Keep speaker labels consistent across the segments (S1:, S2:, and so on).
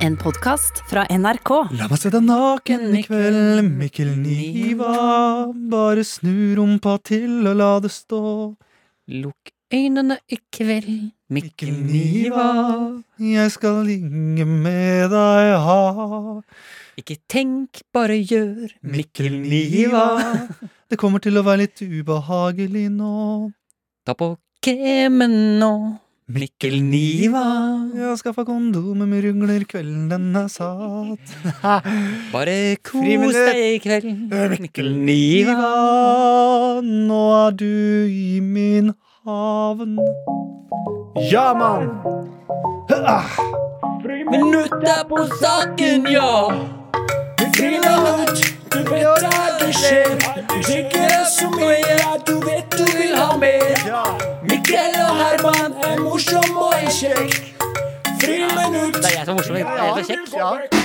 S1: En podkast fra NRK.
S2: La meg se deg naken i kveld, Mikkel Niva. Bare snu rumpa til og la det stå.
S3: Lukk øynene i kveld, Mikkel Niva.
S2: Jeg skal ligge med deg, ha.
S3: Ikke tenk, bare gjør,
S2: Mikkel Niva. Det kommer til å være litt ubehagelig nå.
S3: Ta på kremen nå, Mikkel Niva.
S2: Jeg har skaffa kondomet med rugler, kvelden den er satt.
S3: Bare kos
S2: Friminutt.
S3: deg i kveld, Mikkel Niva.
S2: Niva, nå er du i min havn. Ja, mann!
S3: Minutt er på saken, ja. Friminutt, du vet der det skjer. Du drikker så mye at du vet du vil ha mer. Mikkel og Herman er morsom og er kjekk. Friminutt. Det er jeg som er morsom. Jeg er så kjekk.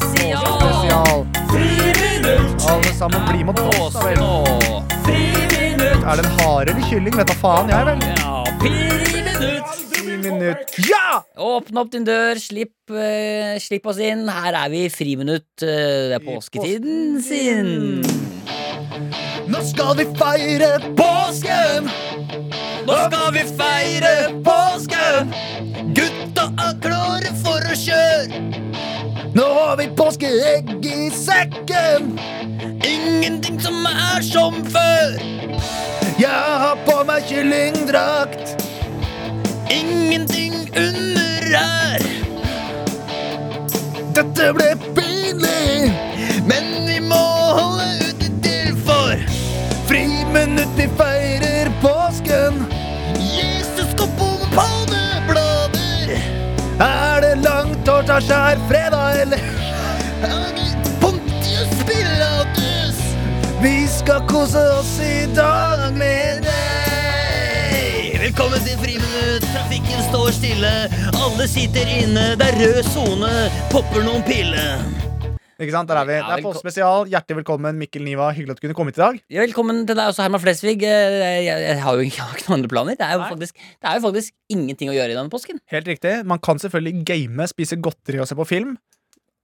S3: Friminutt. Friminutt.
S2: Alle sammen, bli med på oss, da vel.
S3: Friminutt.
S2: Er det en hare eller kylling? Vet da faen, jeg, vel.
S3: Ja, friminutt.
S2: Ti minutt. Ja!
S3: Åpne opp din dør, slipp, eh, slipp oss inn. Her er vi i friminutt. eh, det er påsketiden sin.
S2: Nå skal vi feire påsken!
S3: Nå skal vi feire påsken! Gutta er klare for å kjøre!
S2: Nå har vi påskeegg i sekken!
S3: Ingenting som er som før!
S2: Jeg har på meg kyllingdrakt.
S3: Ingenting under her!
S2: Dette ble pinlig,
S3: Men vi må holde ut til for
S2: friminutt vi feirer påsken.
S3: Jesus går på med palmeblader!
S2: Er det langt år til skjærfredag, eller?
S3: Pontius Pilatus!
S2: Vi skal kose oss i dag med
S3: Hei! Velkommen til friminutt. Trafikken står stille. Alle sitter inne. Det er rød sone. Popper noen piller.
S2: Ikke sant, der er vi. Det er Påskespesial. Hjertelig velkommen, Mikkel Niva. Hyggelig at du kunne komme hit i dag.
S3: velkommen til deg også, Herman Flesvig. Eh, Jeg, jeg har jo jeg har ikke noen andre planer. Det er, jo
S2: Nei.
S3: faktisk, det er jo faktisk ingenting å gjøre i denne påsken.
S2: Helt riktig. Man kan selvfølgelig game, spise godteri og se på film.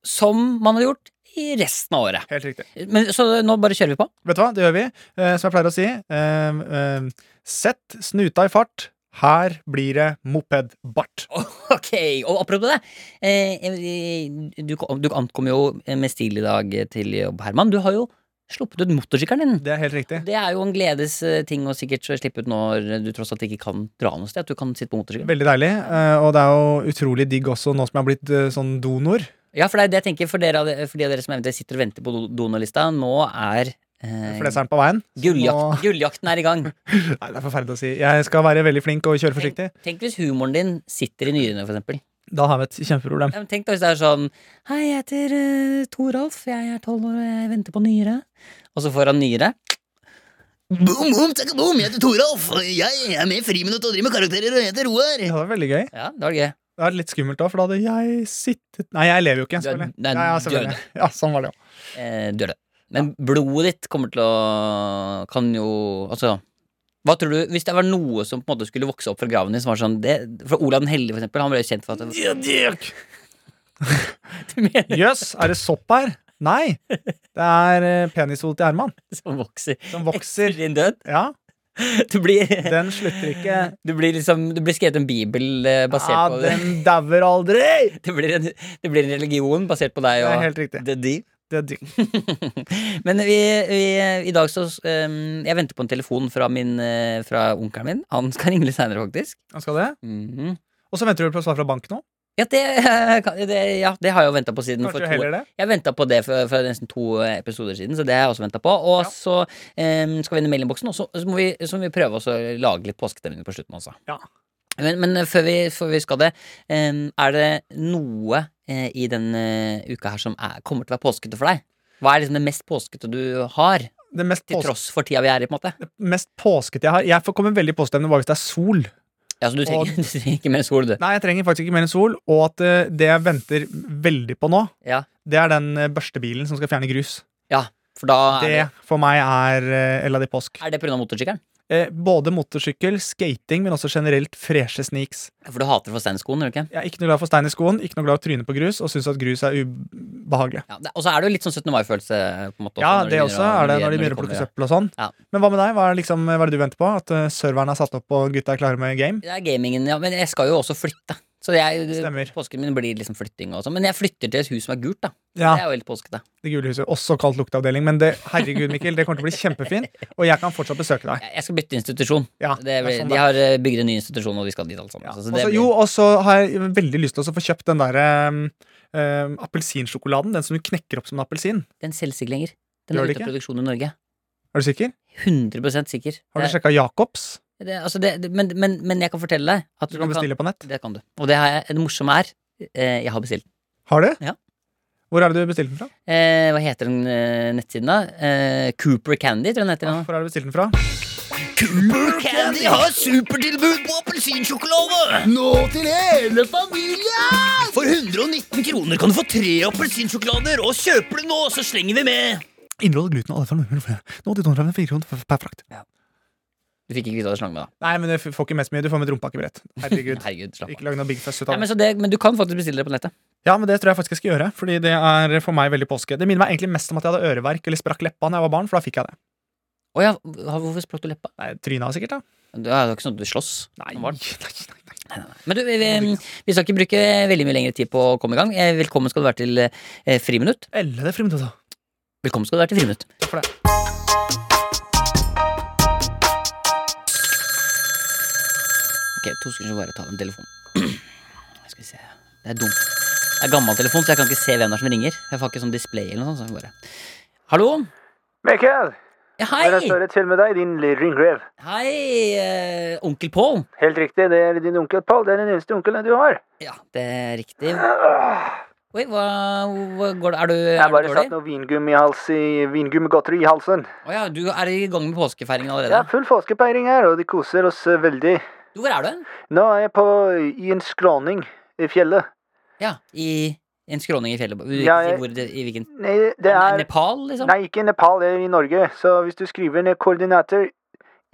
S3: Som man har gjort i resten av året.
S2: Helt riktig.
S3: Men, så nå bare kjører vi på.
S2: Vet du hva, det gjør vi. Eh, som jeg pleier å si, eh, eh, sett snuta i fart. Her blir det mopedbart.
S3: Ok, og apropos det eh, eh, du, kom- du ankom jo med stil i dag til jobb, Herman. Du har jo sluppet ut motorsykkelen din.
S2: Det er helt riktig.
S3: Det er jo en gledes eh, ting å sikkert slippe ut når du tross alt ikke kan dra noe sted. At du kan sitte på motorsykkel.
S2: Veldig deilig. Eh, og det er jo utrolig digg også nå som jeg har blitt eh, sånn donor.
S3: Ja, for det er det jeg tenker for, dere, av de- for de av dere som eventuelt sitter og venter på do- donorlista. Nå er eh,
S2: Fleseren på veien.
S3: gulljakt,
S2: Nå-
S3: gulljakten er i gang.
S2: Nei, det er forferdelig å si. Jeg skal være veldig flink og kjøre forsiktig.
S3: Tenk hvis humoren din sitter i nyrene, for eksempel.
S2: Da har vi et kjempeproblem.
S3: Ja, men Tenk da hvis det er sånn Hei, jeg heter uh, Toralf, jeg er tolv år og jeg venter på nyre. Og så får han nyre.
S4: Boom, boom, takka boom, jeg heter Toralf. Jeg er med i Friminutt og driver med karakterer og jeg heter Roar.
S2: Det var veldig gøy.
S3: Ja, det var det gøy.
S2: Det var litt skummelt òg, for da hadde jeg sittet Nei, jeg lever jo ikke,
S3: Du er-
S2: selvfølgelig.
S3: nei,
S2: Ja, ja,
S3: du er
S2: selvfølgelig. ja sånn var det jo.
S3: Eh, du er død. Men blodet ditt kommer til å Kan jo Altså hva tror du, Hvis det var noe som på en måte skulle vokse opp fra graven din som var sånn det, For Olav den hellige, for eksempel, han ble jo kjent for at Du mener
S2: Jøss, er det sopp her? Nei. Det er eh, penishode til Herman
S3: som vokser
S2: som
S3: etter
S2: vokser.
S3: din død?
S2: Ja,
S3: Du blir,
S2: den slutter ikke.
S3: du blir liksom Du blir skrevet en bibel eh, basert
S2: Ja,
S3: på det.
S2: den dauer aldri!
S3: Det blir, en, det blir en religion basert på deg
S2: Det er
S3: og
S2: helt riktig.
S3: The Deep.
S2: Det er dyrt.
S3: Men vi, vi, i dag så ehm, Jeg venter på en telefon fra, min, eh, fra onkelen min. Han skal ringe litt seinere, faktisk.
S2: Han skal det.
S3: Mhm.
S2: Og så venter du på svar fra bank nå?
S3: ja, det, eh, kan- det, ja, det har jeg jo venta på siden.
S2: Kanskje
S3: for
S2: du
S3: to,
S2: heller det?
S3: jeg venta på det for, for nesten to eh, episoder siden, så det har jeg også venta på. Og
S2: Ja.
S3: så ehm, skal vi inn i meldingboksen, og så, så, må vi, så må vi prøve oss å lage litt påskestemning på slutten også.
S2: Ja.
S3: Men, men eh, før, vi, før vi skal det, ehm, er det noe eh, i denne eh, uka her som er, kommer til å være påskete for deg? Hva er liksom det mest påskete du har?
S2: Det mest,
S3: Til
S2: pås
S3: tross for tida vi er i, på en måte.
S2: mest påskete jeg har Jeg får komme veldig i påskestemning bare hvis det er sol.
S3: Ja, så du trenger, du trenger ikke mer sol, du.
S2: Nei, jeg trenger faktisk ikke mer enn sol. Og at eh, det jeg venter veldig på nå,
S3: Ja.
S2: det er den eh, børstebilen som skal fjerne grus.
S3: For da er det,
S2: Det for meg er eh, Ella di påsk.
S3: er det pga. motorsykkelen.
S2: eh, både motorsykkel, skating, men også generelt freshe sneaks.
S3: For du hater forsteinskoen, gjør du ikke?
S2: Jeg er ikke noe glad for stein i skoen, ikke noe glad i å tryne på grus, og syns at grus er ubehagelig.
S3: Ja, det, og så er det jo litt sånn 17. mai-følelse. på en måte
S2: Ja,
S3: også, når
S2: det
S3: de
S2: også
S3: begynner å-
S2: er det når de begynner å
S3: kommer,
S2: plukke
S3: ja.
S2: søppel og sånn.
S3: Ja.
S2: Men hva med deg? Hva er, det liksom, hva er det du venter på? At eh, serveren er satt opp og gutta er klare med game?
S3: Det er gamingen, ja. Men jeg skal jo også flytte. Så jeg,
S2: Stemmer.
S3: påsken min blir liksom flytting og sånn. Men jeg flytter til et hus som er gult, da.
S2: Ja,
S3: Det er jo helt påskete.
S2: Det gule huset. Også kalt lukteavdeling. Men det, herregud, Mikkel, det kommer til å bli kjempefint, og jeg kan fortsatt besøke deg.
S3: Jeg jeg skal bytte institusjon.
S2: Ja,
S3: Det,
S2: det er
S3: blir-
S2: sånn
S3: de
S2: det er.
S3: har eh, bygd en ny institusjon, og vi skal dit alle sammen.
S2: Ja.
S3: Så det
S2: Også,
S3: blir-
S2: jo, og så har jeg veldig lyst til å få kjøpt den derre um, appelsinsjokoladen. Den som du knekker opp som en appelsin.
S3: Den selges ikke lenger. Den
S2: Gjør
S3: er
S2: det
S3: ute av
S2: ikke?
S3: produksjon i Norge.
S2: Er du sikker?
S3: 100 sikker.
S2: Har du
S3: Det-
S2: sjekka Jacobs?
S3: det, altså det, det, men, men, men jeg kan fortelle deg at
S2: Du kan bestille på nett.
S3: Det kan du. Og det, har jeg, det morsomme er eh, Jeg har bestilt.
S2: Har du?
S3: Ja.
S2: Hvor er det du bestilte den fra?
S3: Eh, hva heter den eh, nettsiden, da? Eh, Cooper Candy, tror jeg den heter. nå.
S2: Hvor er det du bestilte den fra?
S5: Cooper Candy har supertilbud på appelsinsjokolade! Nå til hele familien! For 119 kroner kan du få tre appelsinsjokolader, og kjøper du nå, så slenger vi med!
S2: Innhold gluten og alle former. Nå til 254 kroner per frakt.
S3: Du fikk ikke vite hva du slang med, da.
S2: Nei, men du f- får ikke mest mye. Du får med et rumpeakebrett. Herregud.
S3: Herregud, slapp av.
S2: Ikke lag noe big fuss ut
S3: Nei,
S2: av
S3: men,
S2: det.
S3: så det, men du kan faktisk bestille det på nettet.
S2: Ja, men det tror jeg faktisk jeg skal gjøre, fordi det er for meg veldig påske. Det minner meg egentlig mest om at jeg hadde øreverk eller sprakk leppa da jeg var barn, for da fikk jeg det.
S3: Å ja, hva- hvorfor sprakk du leppa?
S2: Nei, Tryna sikkert, da.
S3: Du- ja, Det var ikke sånn at du slåss?
S2: Nei, nei,
S3: Som barn.
S2: nei, nei.
S3: Men du, vi, vi vi skal ikke bruke veldig mye lengre tid på å komme i gang. Eh, Velkommen skal du være til eh, Friminutt.
S2: Elle det altså. friminutt, da.
S3: Velkommen skal du være til Friminutt.
S2: For det.
S3: Ok, to sekunder, så bare ta den telefonen. Skal vi se. Det er dumt. Det er gammel telefon, så jeg kan ikke se hvem det er som ringer. Jeg får ikke sånn display eller noe sånt. Så jeg bare. Hallo?
S6: Mikkel,
S3: Ja,
S6: det står
S3: hei!
S6: et til med deg, din lille ringrev.
S3: Hei, eh, onkel Pål.
S6: Helt riktig, det er din onkel Paul. Det er den eneste onkelen du har.
S3: Ja, det er riktig. Oi, hva, hva går det? Er du,
S6: Jeg
S3: er
S6: bare
S3: du
S6: satt
S3: dårlig?
S6: noe vingummi i hals i vingummigodteri i halsen.
S3: Å ja, du er i gang med påskefeiringen
S6: Det
S3: allerede.
S6: er full påskepeiring her, og det koser oss eh, veldig.
S3: Du, hvor er du? hen?
S6: Nå er jeg på i en skråning i fjellet.
S3: Ja, i en skråning i fjellet. Du vil
S6: Ja,
S3: ikke si
S6: jeg-
S3: hvor det- I hvilken
S6: Nei, det er
S3: Nepal, liksom?
S6: Nei, ikke Nepal, det er i Norge. Så hvis du skriver ned koordinater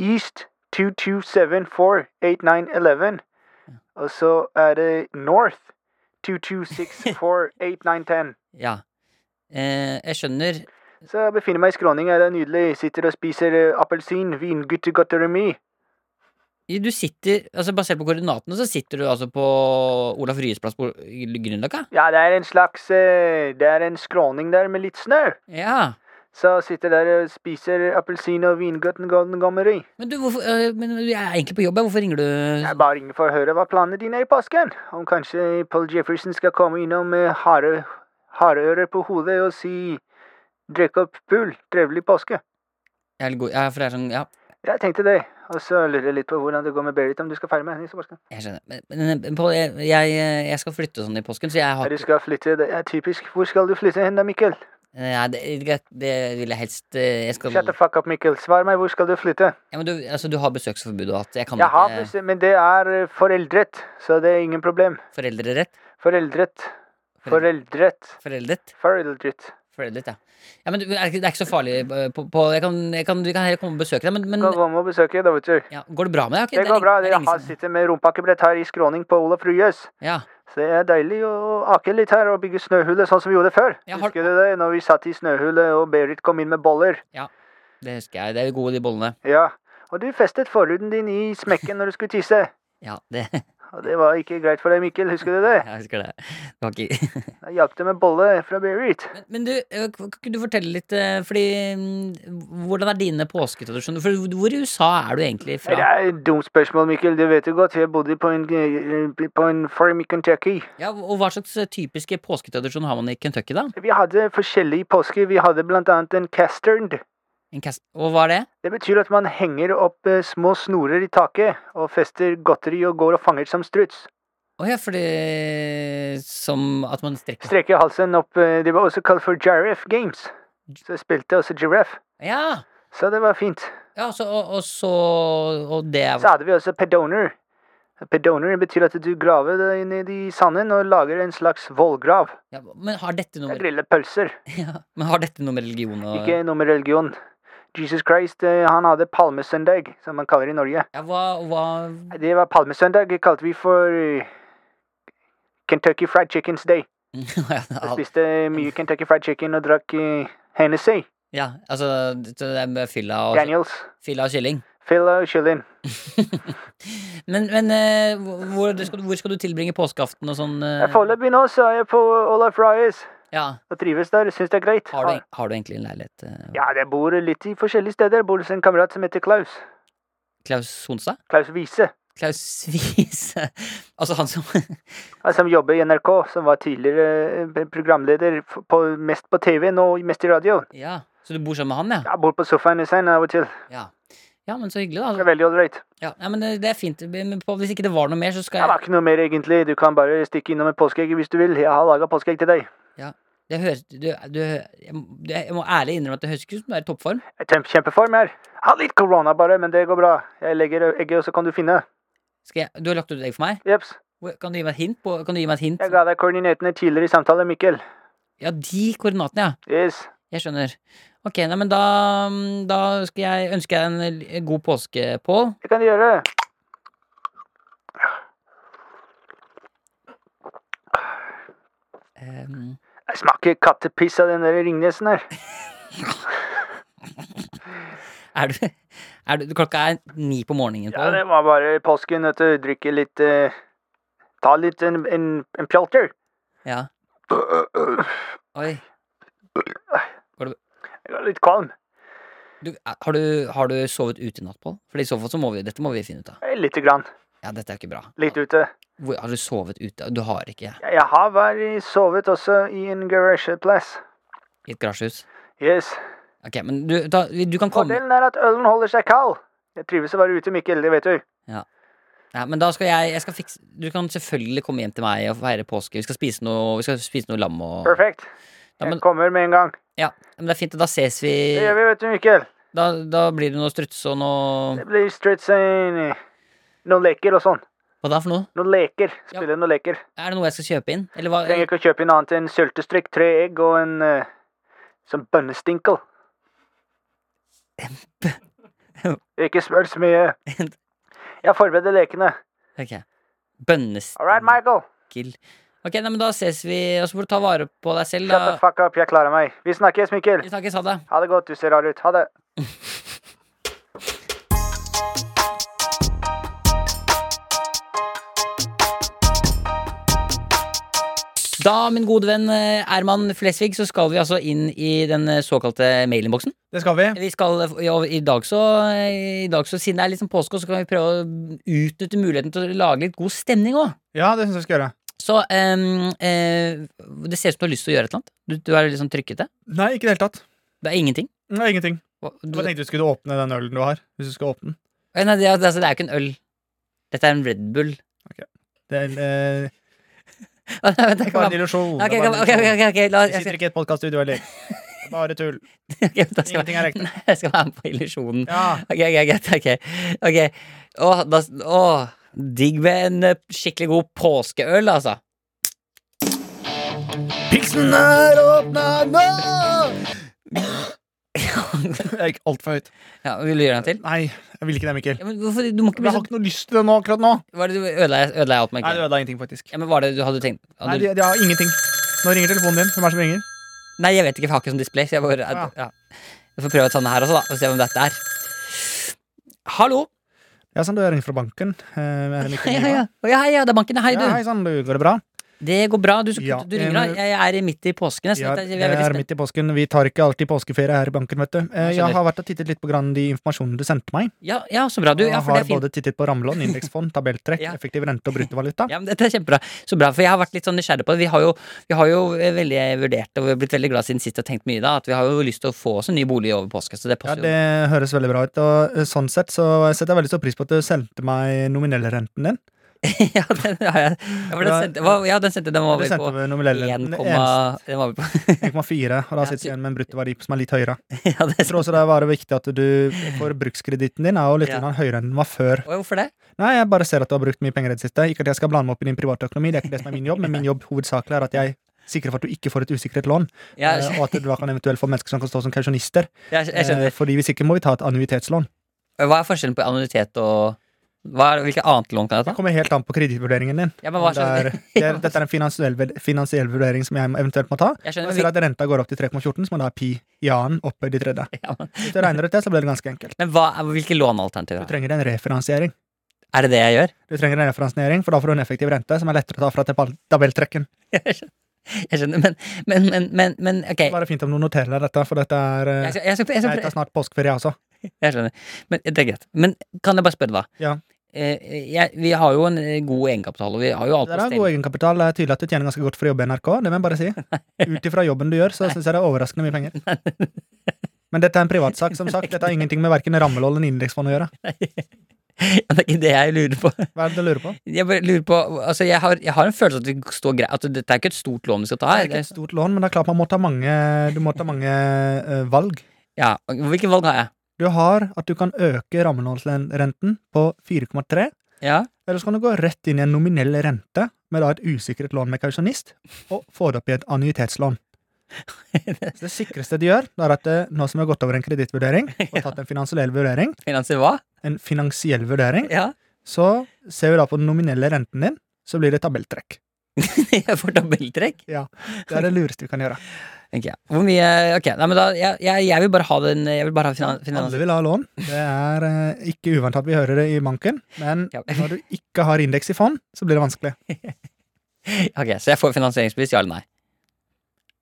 S6: East 22748911, og så er det North 22648910.
S3: Ja. Eh, jeg skjønner.
S6: Så jeg befinner meg i skråning, er det nydelig. Jeg Sitter og spiser eh, appelsin, vingutte gutteremi.
S3: Du sitter, altså Basert på koordinatene så sitter du altså på Olaf Ryes plass på Grünerløkka?
S6: Ja, det er en slags eh, Det er en skråning der med litt snø.
S3: Ja.
S6: Så jeg sitter der og spiser appelsin og vinguttengomeri.
S3: Men du, hvorfor, eh, men jeg er egentlig på jobb, jeg. Hvorfor ringer
S6: Jeg
S3: du?
S6: bare ringer for å høre hva planene dine er i påsken. Om kanskje Paul Jefferson skal komme innom med hare, hareører på hodet og si Drikk opp pool, trevelig påske.
S3: Jeg er litt god. Ja, for jeg er sånn, ja,
S6: Jeg tenkte det. Og så lurer jeg litt på hvordan det går med Berit, om du skal feire med henne i påsken.
S3: jeg skjønner. Men, men men, Pål, jeg, jeg, jeg skal flytte sånn i påsken, så jeg har
S6: Ja, du
S3: ikke
S6: skal flytte, det er typisk. Hvor skal du flytte hen da, Mikkel?
S3: Eh, Nei, det, det, det vil jeg helst eh, Jeg skal
S6: Shut the fuck up, Mikkel. Svar meg, hvor skal du flytte?
S3: ja, men du, altså, du har besøksforbud og at jeg kan
S6: Jeg har
S3: ikke
S6: bestemt, men det er eh, foreldret, så det er ingen problem.
S3: Foreldrerett?
S6: Foreldret.
S3: Forel-
S6: Foreldret.
S3: Foreldret?
S6: Foreldret.
S3: Foreldet, ja. ja men du, det er ikke det er ikke så farlig eh, på, på, jeg kan, jeg kan, Vi kan heller komme og besøke deg, men, men
S6: Gå hjem og besøke, da, vet du.
S3: ja, Går det bra med deg? Ok,
S6: Det
S3: er
S6: går
S3: ing-
S6: bra.
S3: det er
S6: Dere
S3: ingen
S6: har
S3: som-
S6: sittet med rumpakkebrett her i skråning på Olaf Ryes.
S3: Ja.
S6: Så det er deilig å ake litt her og bygge snøhullet sånn som vi gjorde før.
S3: Ja, har-
S6: Husker du det? Når vi satt i snøhullet og Berit kom inn med boller.
S3: Det husker jeg. Det er gode, de bollene.
S6: Ja. Og du festet forhuden din i smekken når du skulle tisse.
S3: Ja, det
S6: Og det var ikke greit for deg, Mikkel. Husker du det?
S3: Jeg husker det. det var ikke...
S6: Jeg hjalp deg med bolle fra Berit.
S3: men, men du, eh, kan ikke du fortelle litt eh, Fordi mm, Hvordan er dine påsketradisjoner? For hvor i USA er du egentlig
S6: Det
S3: fra?
S6: er et dumt spørsmål, Mikkel. Du vet jo godt, jeg bodde på en, eh, på en farm i Kentucky.
S3: Ja, og hva slags eh, typiske påsketradisjon har man i Kentucky, da?
S6: Vi hadde forskjellige påsker. Vi hadde blant annet en castern.
S3: En cast... Og hva er det?
S6: Det betyr at man henger opp eh, små snorer i taket og fester godteri og går og fanger som struts.
S3: Å ja, fordi Som at man strekker
S6: Streker halsen opp. eh, Det var også kalt for giraffe games. Så jeg spilte også giraffe.
S3: Ja!
S6: Så det var fint.
S3: ja så, og, og så Og det er
S6: Så hadde vi også pedoner. Pedoner betyr at du graver deg ned i sanden og lager en slags vollgrav.
S3: ja, Men har dette noe
S6: Jeg
S3: med
S6: griller pølser.
S3: Ja, men har dette noe med religion å
S6: Ikke noe med religion. Jesus Christ, eh, han hadde palmesøndag, som man kaller det i Norge.
S3: Ja, hva, hva
S6: Det var palmesøndag, det kalte vi for eh, Kentucky Fried Chickens Day. Jeg
S3: ja,
S6: spiste mye Kentucky Fried Chicken og drakk eh, Hennessy,
S3: ja, altså det er med fylla og,
S6: Daniels,
S3: fylla og kylling.
S6: Phil og Chillin.
S3: Men, men eh, hvor, hvor skal, du- hvor skal du tilbringe påskeaften og sånn? eh,
S6: Jeg Foreløpig nå så er jeg på Olaf Ryes
S3: ja.
S6: og trives der, syns det er greit.
S3: har, du, har du egentlig en leilighet? eh,
S6: Ja, jeg bor litt i forskjellige steder. Jeg bor hos en kamerat som heter Klaus.
S3: Klaus Sonstad?
S6: Klaus Wiese.
S3: Klaus Wiese? altså han som
S6: Han Som jobber i NRK, som var tidligere eh, programleder f- på, mest på TV, nå mest i radio.
S3: Ja, så du bor sammen med han, ja?
S6: Jeg bor på sofaen hos han av og til.
S3: Ja, ja men så hyggelig,
S6: Det
S3: da.
S6: er veldig ålreit.
S3: Ja, ja, men det, det er fint. Men på- hvis ikke det var noe mer, så skal
S6: Det
S3: jeg
S6: var ikke noe mer, egentlig. Du kan bare stikke innom et påskeegg hvis du vil. Jeg har laga påskeegg til deg.
S3: det høres, du, du, jeg, må- du, jeg må ærlig innrømme at det høres ikke ut som du er i toppform.
S6: Jeg er i kjempeform her. Jeg har litt korona, bare, men det går bra. Jeg legger egget, og så kan du finne.
S3: Skal jeg, du har lagt ut egg for meg.
S6: Jeps.
S3: Hvor- Kan du gi meg et hint? På, kan du gi meg et hint?
S6: Jeg ga deg koordinatene tidligere i samtale, Mikkel.
S3: Ja, de koordinatene, ja.
S6: Yes.
S3: Jeg skjønner. Ok, nei, men da, da skal jeg ønske deg en l- god påske, Pål.
S6: Det kan du gjøre.
S3: Ehm,
S6: Jeg smaker kattepiss av den der Ringnesen her.
S3: er, du, er du Klokka er ni på morgenen,
S6: Ja,
S3: Pål.
S6: det var bare påsken, vet du. Drikke litt eh, Ta litt en, en, en pjolter.
S3: Ja. Oi.
S6: Jeg var litt kvalm.
S3: Du, har, du, har du sovet ute i natt, Pål? For i så fall så må vi Dette må vi finne ut av.
S6: Eh, Lite grann.
S3: Ja, dette er ikke bra.
S6: Litt ute.
S3: Hvor, har du sovet ute? Du har ikke
S6: Jeg, jeg har vært sovet også i en garasjeplass.
S3: i et garasjehus?
S6: Yes.
S3: Ok, men du, da, du kan komme.
S6: Fordelen er at ølen holder seg kald. Jeg trives å være ute, Mikkel. Det vet du.
S3: Ja, men da skal jeg, jeg skal fikse Du kan selvfølgelig komme hjem til meg og feire påske. Vi skal spise noe, vi skal spise noe lam og
S6: Perfekt.
S3: Ja, men-
S6: Jeg kommer med en gang.
S3: Ja, men det er fint. Da ses vi.
S6: Det gjør vi, vet du, Mikkel.
S3: Da, da blir det noe strutse og noe
S6: Det blir stritzing Noen leker og sånn.
S3: Hva da for noe?
S6: Noen leker.
S3: Ja.
S6: Spille noen leker.
S3: Er det noe jeg skal kjøpe inn? Eller hva?
S6: Trenger ikke å kjøpe inn annet enn syltestrikk, tre egg og en eh, sånn bønnestinkel. Ikke spør så mye. Jeg forbereder lekene.
S3: Ok. Bønnestikkel.
S6: All right, Michael.
S3: Ok, nei, men da ses vi, og så får du ta vare på deg selv,
S6: Shut the
S3: da.
S6: fuck up. Jeg klarer meg. Vi snakkes, Mikkel.
S3: Vi snakkes, ha det.
S6: Ha det godt. Du ser rar ut. Ha det.
S3: Da, min gode venn eh, Erman Flesvig, så skal vi altså inn i den eh, såkalte mailinnboksen.
S2: Det skal vi.
S3: Vi skal, ja, i, dag så, I dag så, siden det er liksom påske, så kan vi prøve å utnytte muligheten til å lage litt god stemning òg.
S2: Ja, det syns jeg vi skal gjøre.
S3: Så em, eh, det ser ut som du har lyst til å gjøre et eller annet. Du, du er litt sånn trykkete.
S2: Nei, ikke i det hele tatt.
S3: Det er ingenting.
S2: Nei, ingenting.
S3: Hva-
S2: Jeg
S3: Du,
S2: bare tenkte du skulle åpne den ølen du har. Hvis du skal åpne den.
S3: Oi, nei, det, er- altså, det er jo ikke en øl. Dette er en Red Bull.
S2: Det er, eh,
S3: Vent, vent,
S2: det er bare
S3: jeg
S2: en
S3: kan bare-
S2: illusjon.
S3: Ok,
S2: Det er
S3: ok,
S2: bare en
S3: ok,
S2: illusjon.
S3: ok, ok, la
S2: Jeg
S3: jeg
S2: sitter
S3: skal,
S2: ikke i et podkaststudio heller. Det er Bare tull.
S3: ok, da skal,
S2: Ingenting er riktig.
S3: Nei, jeg skal være med på illusjonen.
S2: Ja.
S3: Ok, ok, greit. ok, ok Åh, da, åh, Digg med en eh, skikkelig god påskeøl, altså.
S2: Piksen er åpna nå! Det er ikke altfor høyt.
S3: Ja, Vil du gjøre en til?
S2: Nei, jeg vil ikke det, Mikkel.
S3: Ja, men hvorfor, du må ikke
S2: Jeg
S3: bli
S2: har
S3: så
S2: ikke noe lyst til det nå, akkurat nå.
S3: Var det du ødela jeg ødela jeg alt
S2: Nei,
S3: merket?
S2: det ødela ingenting, faktisk.
S3: Ja, men var det du hadde tenkt hadde,
S2: Nei,
S3: du-
S2: det, det har ingenting. Nå ringer telefonen din. Hvem er det som ringer?
S3: Nei, jeg vet ikke, for jeg har ikke sånn display. Så jeg bare
S2: Ah,
S3: ja. Jeg får prøve å ta den her også, da. Og se om dette er Hallo!
S2: Ja, sånn, du er inne fra banken. Eh, er det Mikkel
S3: Ja, ja, ja.
S2: Niva?
S3: Å, ja, hei, ja, det er banken. Hei,
S2: Ja, hei
S3: du.
S2: sann, du. Går det bra?
S3: Det går bra. Du, så,
S2: Ja,
S3: du ringer, da.
S2: eh,
S3: Jeg er i midt i påsken. nesten.
S2: Ja,
S3: Jeg, jeg,
S2: det eh,
S3: er
S2: er
S3: veldig spent.
S2: midt i påsken. Vi tar ikke alltid påskeferie her i banken, vet du. Eh,
S3: Jeg skjønner.
S2: Jeg har vært og tittet litt på grann de informasjonene du sendte meg.
S3: ja, ja, så bra. Du, ja,
S2: jeg
S3: for det
S2: har
S3: er fint.
S2: både tittet på rammelån, indeksfond, tabelltrekk,
S3: Ja.
S2: effektiv rente og bruttovaluta.
S3: Ja, men dette er kjempebra. Så bra, for jeg har vært litt sånn nysgjerrig på det. Vi har jo, vi har jo eh, veldig vurdert og vi har blitt veldig glad siden sist og tenkt mye da, at vi har jo lyst til å få oss en ny bolig over påske. Så det
S2: Ja,
S3: passer
S2: Det høres veldig bra ut. Og eh, sånn sett så setter jeg veldig stor pris på at du sendte meg nominellrenten din.
S3: jo. ja, den har jeg. Ja, for den
S2: Ja,
S3: sendte, hva- ja, den sendte den var
S2: Du
S3: vi
S2: sendte
S3: på
S2: meg
S3: 1,
S2: nominellrenten
S3: den
S2: eneste-
S3: var vi på
S2: 1,4, og da
S3: Ja,
S2: sitter
S3: du-
S2: jeg igjen med en bruttoverdi som er litt høyere.
S3: ja, det
S2: Jeg tror også det er bare viktig at du For brukskreditten din er jo litt
S3: Ja.
S2: grann høyere enn den var før.
S3: Oi, Hvorfor det?
S2: Nei, jeg bare ser at du har brukt mye penger i det siste. Ikke at jeg skal blande meg opp i din private økonomi, det er ikke det som er min jobb, men min jobb hovedsakelig er at jeg sikre for at du ikke får et usikret lån,
S3: Jeg,
S2: eh, og at du da kan eventuelt få mennesker som kan stå som kausjonister.
S3: jeg, jeg
S2: Eh,
S3: skjønner.
S2: Fordi hvis ikke må vi ta et annuitetslån. Eh.
S3: Hva er forskjellen på annuitet og hva er, Hvilke annet lån kan jeg
S2: Det
S3: ta?
S2: kommer helt an på kredittvurderingen din.
S3: Ja, men hva
S2: Det er,
S3: skjønner
S2: det er, dette er en finansiell, vurd- finansiell vurdering som jeg eventuelt må ta.
S3: Jeg
S2: Og
S3: skjønner,
S2: Jeg ser at renta går opp til 3,14, som da er pi i annen oppe i de tredje.
S3: Ja, men-
S2: Hvis du regner ut det, så blir det ganske enkelt.
S3: Men hva, er- hvilke
S2: Du
S3: lånealternativer er det?
S2: trenger en refinansiering.
S3: Er det det jeg gjør?
S2: Du trenger en refinansiering, for da får du en effektiv rente som er lettere å ta fra tabell- tabelltrekken.
S3: Jeg skjønner, men, men, men, men, men ok.
S2: Det er bare fint om du noterer deg dette, for dette er eh,
S3: Jeg, skal, jeg, skal,
S2: Jeg
S3: jeg, skal,
S2: tar snart altså. påskeferie, jeg også.
S3: Jeg skjønner. Men det er greit. Men kan jeg bare spørre, da?
S2: Ja.
S3: Eh, jeg, vi har jo en eh, god egenkapital, og vi har jo alt
S2: Det
S3: på
S2: er
S3: stell.
S2: god egenkapital. Det er tydelig at du tjener ganske godt for å jobbe i NRK. Det må jeg bare si. Ut ifra jobben du gjør, så syns jeg det er overraskende mye penger. Men dette er en privatsak, som sagt. Dette har ingenting med verken rammelån eller indeksfond å gjøre.
S3: Men Det er ikke det jeg lurer på.
S2: Hva er det du lurer på?
S3: Jeg bare lurer på Altså, jeg har, jeg har en følelse at det står greit At dette er ikke et stort lån vi skal ta
S2: Det er
S3: her.
S2: ikke et stort lån, men det er klart man må ta mange, du må ta mange eh, valg.
S3: Ja. og Hvilke valg har jeg?
S2: Du har at du kan øke rammelånsrenten på 4,3,
S3: Ja.
S2: eller så kan du gå rett inn i en nominell rente med da et usikret lån med kausjonist, og få det opp i et annuitetslån. Så det sikreste de gjør, det er at det, nå som vi har gått over en kredittvurdering, og tatt en finansiell vurdering,
S3: Finansier hva?
S2: en finansiell vurdering,
S3: Ja.
S2: så ser vi da på den nominelle renten din, så blir det tabelltrekk.
S3: Jeg får tabelltrekk.
S2: Det er det lureste vi kan gjøre.
S3: Ok, Hvor mye Ok, nei, men da Jeg, jeg, jeg vil bare ha den Jeg vil bare ha finan, finans...
S2: Alle vil ha lån. Det er eh, ikke uvant at vi hører det i banken, men
S3: Ja.
S2: når du ikke har indeks i fond, så blir det vanskelig.
S3: Ok, Så jeg får finansieringsbevis, ja eller nei?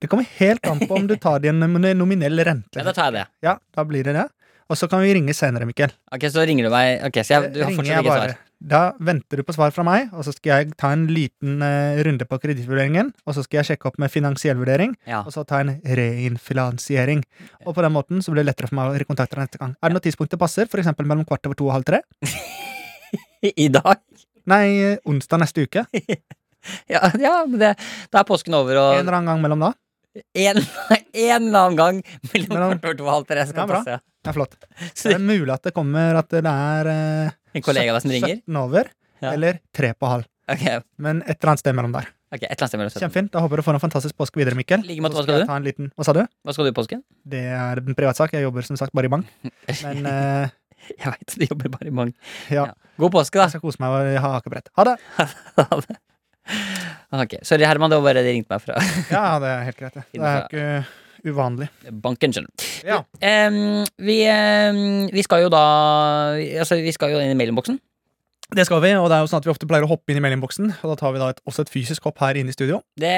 S2: Det kommer helt an på om du tar det i en nomin- nominell rente.
S3: Ja, Da tar jeg det.
S2: Ja, da blir det det. Og så kan vi ringe senere, Mikkel.
S3: Ok, Så ringer du meg Ok, så jeg, du har
S2: Ringer
S3: fortsatt
S2: jeg
S3: ikke
S2: bare.
S3: svar?
S2: Da venter du på svar fra meg, og så skal jeg ta en liten eh, runde på kredittvurderingen, og så skal jeg sjekke opp med finansiell vurdering,
S3: Ja.
S2: og så ta en reinfinansiering. Og på den måten så blir det lettere for meg å rekontakte deg neste gang. Er det noe tidspunkt det passer? For eksempel mellom kvart over to og halv tre?
S3: I dag?
S2: Nei, eh, onsdag neste uke. En
S3: Ja, ja men det, da er påsken over, og en,
S2: eller annen gang mellom da.
S3: en eller annen gang mellom
S2: Mellom-
S3: kvart over to og halv tre skal
S2: Ja, bra.
S3: passe.
S2: Det er flott. Så
S3: Så
S2: det er mulig at det kommer at det er eh,
S3: en kollega av deg som ringer?
S2: 17 over,
S3: Ja.
S2: eller tre på halv.
S3: Ok,
S2: Men et eller annet sted mellom der.
S3: ok, et eller annet sted mellom 17.
S2: Kjempefint. Da håper jeg du får en fantastisk påske videre, Mikkel.
S3: Like måte,
S2: Så
S3: hva
S2: skal
S3: skal
S2: jeg
S3: du?
S2: ta en liten- Hva sa du?
S3: Hva skal du i påsken?
S2: Det er en privatsak. Jeg jobber som sagt bare i bank. Men eh,
S3: Jeg veit du jobber bare i bank.
S2: ja,
S3: Ja. God påske,
S2: jeg
S3: da.
S2: skal kose meg og ha akebrett. Ha det!
S3: Ok, Sorry, Herman, det var bare de ringte meg fra
S2: Ja, det er helt greit. Det, det er ikke uvanlig.
S3: banken, skjønner du.
S2: Ja.
S3: Em, vi, em, vi skal jo da Altså, vi skal jo inn i mailinnboksen.
S2: Det skal vi, og det er jo sånn at vi ofte pleier å hoppe inn i meldingboksen. Og da tar vi da et, også et fysisk hopp her inne i studio.
S3: Det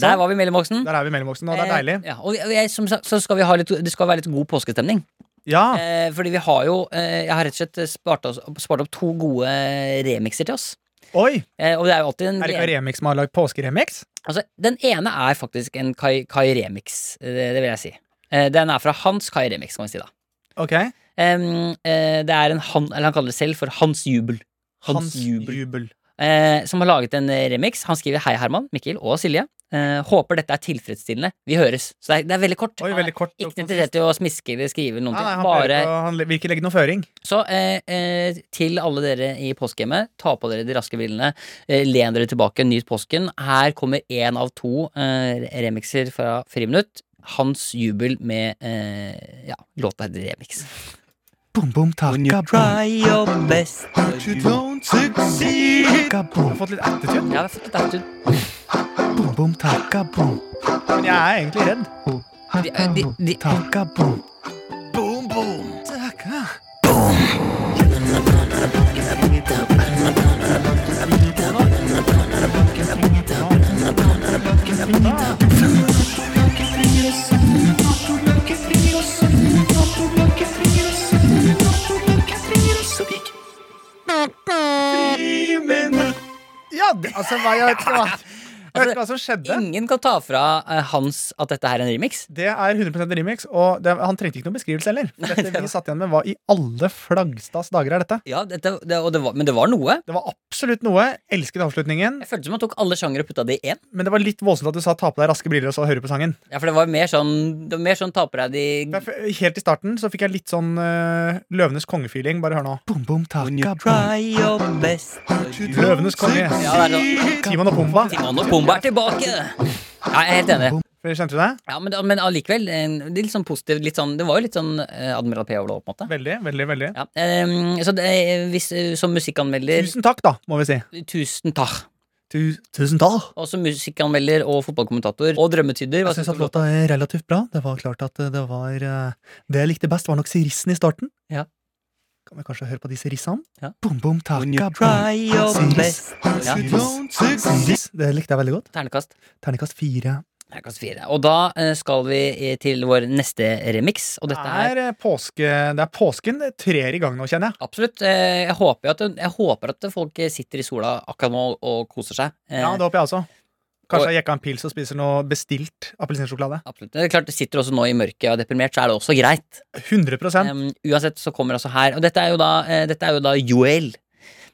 S2: Sånn.
S3: Der var vi i mailinnboksen.
S2: Der er vi i meldingboksen, og det er deilig.
S3: Eh, Ja, og vi- og jeg, som sagt, så skal vi ha litt, det skal være litt god påskestemning.
S2: Ja,
S3: Eh, fordi vi har jo eh, Jeg har rett og slett spart, oss, spart opp to gode remixer til oss.
S2: oi!
S3: Eh, og det er jo alltid en
S2: Er det ikke Remix som har lagd påskeremix?
S3: altså, Den ene er faktisk en Kai, kai Remix, eh, det, det vil jeg si. Eh, den er fra hans Kai Remix, kan vi si da.
S2: Ok.
S3: Em, eh, det er en han, eller han kaller det selv for Hans Jubel. Hans, Jubel. Eh, som har laget en eh, remix. Han skriver 'Hei, Herman, Mikkel og Silje'. Eh, håper dette er tilfredsstillende. Vi høres. Så det er, det er veldig kort.
S2: Oi, veldig kort.
S3: Ikke interessert i å smiske eller skrive noen
S2: Nei, nei,
S3: ting.
S2: han,
S3: Bare
S2: prøver å- han vil ikke legge noe føring.
S3: Så eh, eh, til alle dere i påskehjemmet, ta på dere de raske brillene, eh, len dere tilbake, nyt påsken. Her kommer én av to eh, remixer fra Friminutt. Hans jubel med eh, ja, låta heter Remix.
S2: Boom, boom, taka, boom.
S3: your best
S2: But you don't succeed. Taka, boom. Du har fått litt attitude.
S3: Ja, jeg har fått litt attitude.
S2: Boom, boom, taka, boom. Men jeg er egentlig redd.
S3: De, de, de,
S2: Taka, boom.
S5: Boom, boom.
S2: Taka. Ja, det, altså, hva, jeg vet ikke hva,
S3: Altså,
S2: jeg vet ikke hva som skjedde.
S3: ingen kan ta fra eh, Hans at dette her er en remix.
S2: Det er 100 remix, og det, han trengte ikke noen beskrivelse heller. For Dette vi satt igjen med, hva i alle flaggstads dager er dette?
S3: Ja, dette, det, og det var, Men det var noe.
S2: Det var absolutt noe. Elsket avslutningen.
S3: Jeg følte som han tok alle sjangere og putta det i én.
S2: Men det var litt voldsomt at du sa ta på deg raske briller og så høre på sangen.
S3: Ja, for det var mer sånn, det var mer sånn ta på deg de
S2: Derfor- Helt i starten så fikk jeg litt sånn eh, Løvenes konge-feeling. Bare hør nå. Boom, boom, taka, boom.
S3: your best
S2: Løvenes konge.
S3: Ja, det er sånn
S2: Timon og Pumba.
S3: Timon og Pumba. Bomba er tilbake! Ja, jeg er helt enig.
S2: For Kjente du det?
S3: Ja, Men, men allikevel, eh, det er litt sånn positivt. Litt sånn, det var jo litt sånn eh, Admiral P over det, på en måte.
S2: Veldig, veldig, veldig.
S3: Ja, eh, så det, eh, hvis, eh, som musikkanmelder,
S2: Tusen takk, da, må vi si.
S3: tusen takk.
S2: Tusen takk.
S3: Og som musikkanmelder og fotballkommentator og drømmetyder. hva
S2: Jeg syns
S3: synes
S2: at
S3: du om låta?
S2: låta er relativt bra. Det var klart at eh, det var eh, Det jeg likte best, var nok sirissen i starten.
S3: Ja.
S2: Kan vi kanskje høre på de sirissene?
S3: Ja.
S2: Bom, bom, taka,
S3: When you
S2: bom.
S3: try your
S2: Siris,
S3: best. Ja.
S2: siris, siris. Det likte jeg veldig godt.
S3: Ternekast.
S2: Terningkast fire.
S3: Ternekast fire. Og da eh, skal vi eh, til vår neste remix, og dette er
S2: eh, påske, det er påsken det trer i gang nå, kjenner jeg.
S3: Absolutt. Eh, Jeg håper, at, jeg håper at folk sitter i sola akkurat nå og koser seg. Eh,
S2: Ja, det håper jeg også.
S3: Og-
S2: Kanskje jeg jekka en pils og spiser noe bestilt appelsinsjokolade.
S3: Absolutt. Det er klart, Sitter også nå i mørket og er deprimert, så er det også greit.
S2: 100
S3: Em, uansett så kommer altså her Og dette er jo da, eh, dette er jo da Joel.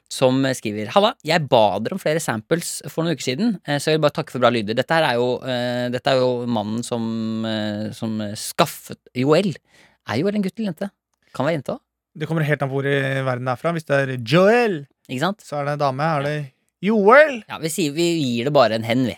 S3: Som eh, skriver Halla, jeg ba dere om flere samples for noen uker siden, eh, så jeg vil bare takke for bra lyder. Dette her er jo, eh, dette er jo mannen som, eh, som skaffet Joel. Er Joel en gutt eller jente? Kan være jente òg,
S2: Det kommer helt an på hvor i verden det er fra. Hvis det er Joel,
S3: ikke sant?
S2: så er det dame. Er det Joel?
S3: Ja, vi, sier, vi gir det bare en hen, vi.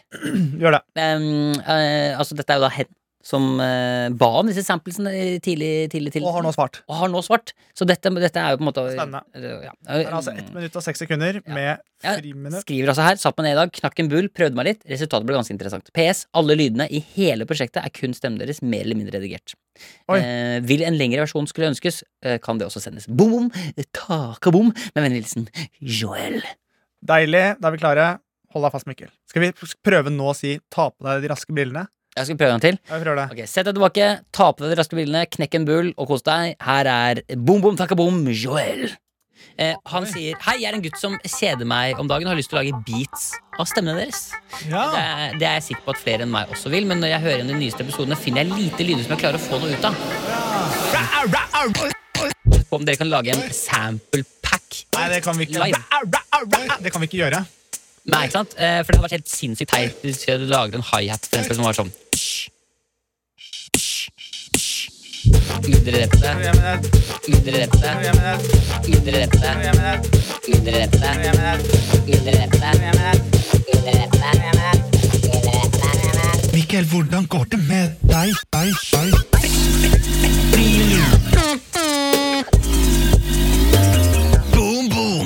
S2: Gjør det.
S3: Em, eh, altså, dette er jo da hen som eh, ba om disse samplesene i tidlig, tidlig, tidlig.
S2: Og har nå svart.
S3: og har nå svart. Så dette, dette er jo på en måte
S2: Spennende.
S3: Eh, ja.
S2: Det er altså ett minutt og seks sekunder med
S3: Ja.
S2: friminutt.
S3: Skriver altså her. Satt meg ned i dag, knakk en bull, prøvde meg litt. Resultatet ble ganske interessant. PS. Alle lydene i hele prosjektet er kun stemmen deres, mer eller mindre redigert.
S2: Oi.
S3: Eh, vil en lengre versjon skulle ønskes, eh, kan det også sendes. Boom! Takabom! Med vennlig hilsen Joel.
S2: Deilig. Da er vi klare. Hold deg fast, Mikkel. Skal vi prøve nå å si ta på deg de raske brillene?
S3: Jeg skal prøve en gang til.
S2: Ja, vi prøver det.
S3: Ok, Sett deg tilbake, ta på deg de raske brillene, knekk en bull og kos deg. Her er Boom Boom Takabom Joel. Eh, han sier Hei, jeg er en gutt som kjeder meg om dagen og har lyst til å lage beats av stemmene deres. Det
S2: Ja.
S3: er, det er jeg sikker på at flere enn meg også vil, men når jeg hører igjen de nyeste episodene, finner jeg lite lyder som jeg klarer å få noe ut av. På om dere kan lage en sample pack.
S2: Nei, det kan vi ikke.
S3: Live.
S2: Det kan vi ikke gjøre.
S3: Nei, ikke sant? Eh, For det hadde vært helt sinnssykt teit hvis jeg hadde laget en hi-hat for eksempel, som var sånn Underrette,
S2: Ja, men det-
S3: underrette,
S2: ja, men det-
S3: underrette,
S2: ja, men det-
S3: underrette,
S2: ja, men det-
S3: underrette,
S2: ja, men det-
S3: underrette.
S2: Mikkel, hvordan går det med deg? deg, deg?
S5: Boom, boom.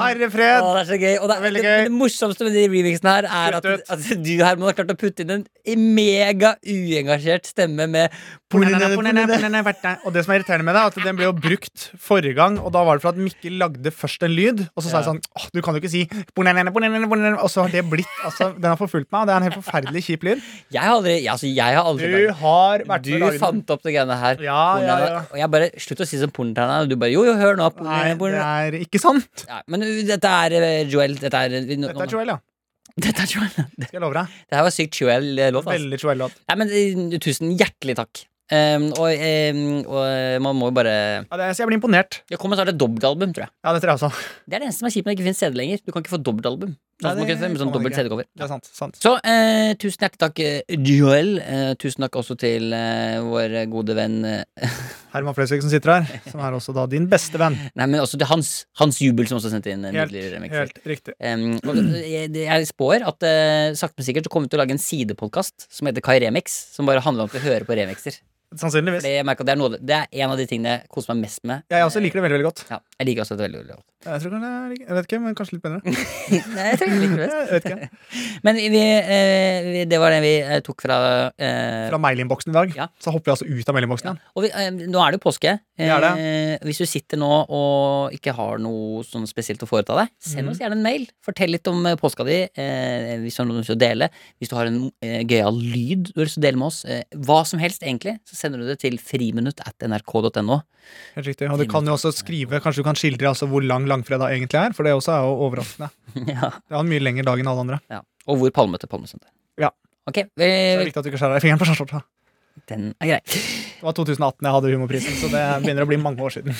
S2: Herre fred.
S3: Å, det er så gøy. Og det,
S2: Veldig
S3: det,
S2: gøy.
S3: det morsomste med de remixene her er at,
S2: Kutt ut.
S3: at du Herman har klart å putte inn en mega uengasjert stemme med
S2: Punanana, punanana, punanana, verta. Og det som er irriterende med det, er at den ble jo brukt forrige gang, og da var det for at Mikkel lagde først en lyd, og så sa jeg sånn Åh, du kan jo ikke si punanana, punanana, punanana. Og så har det blitt Altså, den har forfulgt meg, og det er en helt forferdelig kjip lyd.
S3: Jeg har aldri ja, altså, jeg har aldri
S2: Du har vært
S3: Du
S2: med å lage den.
S3: fant opp det greiene her.
S2: Ja, ja, ja.
S3: Og jeg bare Slutt å si som pornoterna. Og du bare Jo, jo, hør nå.
S2: Nei,
S3: pornoterna,
S2: det
S3: pornoterna.
S2: er ikke sant.
S3: Ja, men uh, dette er eh, Joel. Dette er vi- nå-
S2: Dette er
S3: nå-
S2: Joel, ja.
S3: Dette er Joel. Det
S2: Skal jeg love deg.
S3: det her var sykt Joel-låt. Altså.
S2: Veldig Joel-låt.
S3: Nei, men eh, tusen hjertelig takk. Ehm, og, ehm, og eh, man må jo bare
S2: Ja, det, så jeg blir imponert.
S3: Det kommer snart et dobbeltalbum, tror jeg.
S2: Ja, det tror jeg også.
S3: Det er det eneste som er kjipt når det ikke finnes CD lenger. Du kan ikke få dobbeltalbum.
S2: Nei,
S3: Sånn som man
S2: det
S3: kunne før,
S2: kan
S3: med sånn
S2: man
S3: dobbelt
S2: ikke.
S3: CD-cover.
S2: Det er sant. sant.
S3: Så eh, tusen hjertelig takk, eh, Joel. Eh, tusen takk også til eh, vår gode venn eh,
S2: Herman Flesvig som sitter her, som er også da din beste venn.
S3: Nei, men også til Hans, Hans Jubel, som også sendte inn eh,
S2: Helt,
S3: nydelige remixer.
S2: helt riktig.
S3: Em, og jeg, jeg spår at eh, sakte, men sikkert så kommer vi til å lage en sidepodkast som heter Kai Remix. Som bare handler om at vi hører på remixer.
S2: Sannsynligvis.
S3: Det, jeg merker at det, er noe, av det- det er en av de tingene jeg koser meg mest med.
S2: Jeg også liker det veldig veldig godt.
S3: Ja, jeg liker også det veldig veldig godt.
S2: Jeg tror kanskje, jeg liker- jeg vet ikke, men kanskje litt bedre.
S3: Nei, jeg tror jeg liker det best.
S2: Jeg vet ikke.
S3: Men vi, eh, vi, det var det vi eh, tok fra eh,
S2: Fra mailinnboksen i dag.
S3: Ja.
S2: Så hopper vi altså ut av mailinnboksen.
S3: Ja.
S2: igjen.
S3: Og vi, eh, nå er det jo påske.
S2: Det er det.
S3: Eh, hvis du sitter nå og ikke har noe sånn spesielt å foreta deg, send
S2: Mhm.
S3: oss gjerne en mail. Fortell litt om eh, påska di. Eh, hvis du har noe du har lyst til å dele. Hvis du har en eh, gøyal lyd du har lyst til å dele med oss. Eh, hva som helst, egentlig. Så sender du det til friminutt at nrk.no.
S2: Helt riktig. Og du kan jo også skrive, kanskje du kan skildre altså hvor lang langfredag egentlig er, for det også er jo overraskende.
S3: ja.
S2: Det er en mye lengre dag enn alle andre.
S3: ja. Og hvor palmete palmesøndag.
S2: Ja.
S3: Ok,
S2: Så det er
S3: vel,
S2: viktig at du ikke skjærer deg i fingeren på skjorta.
S3: den er grei.
S2: Det var 2018 jeg hadde humorprisen, så det begynner å bli mange år siden.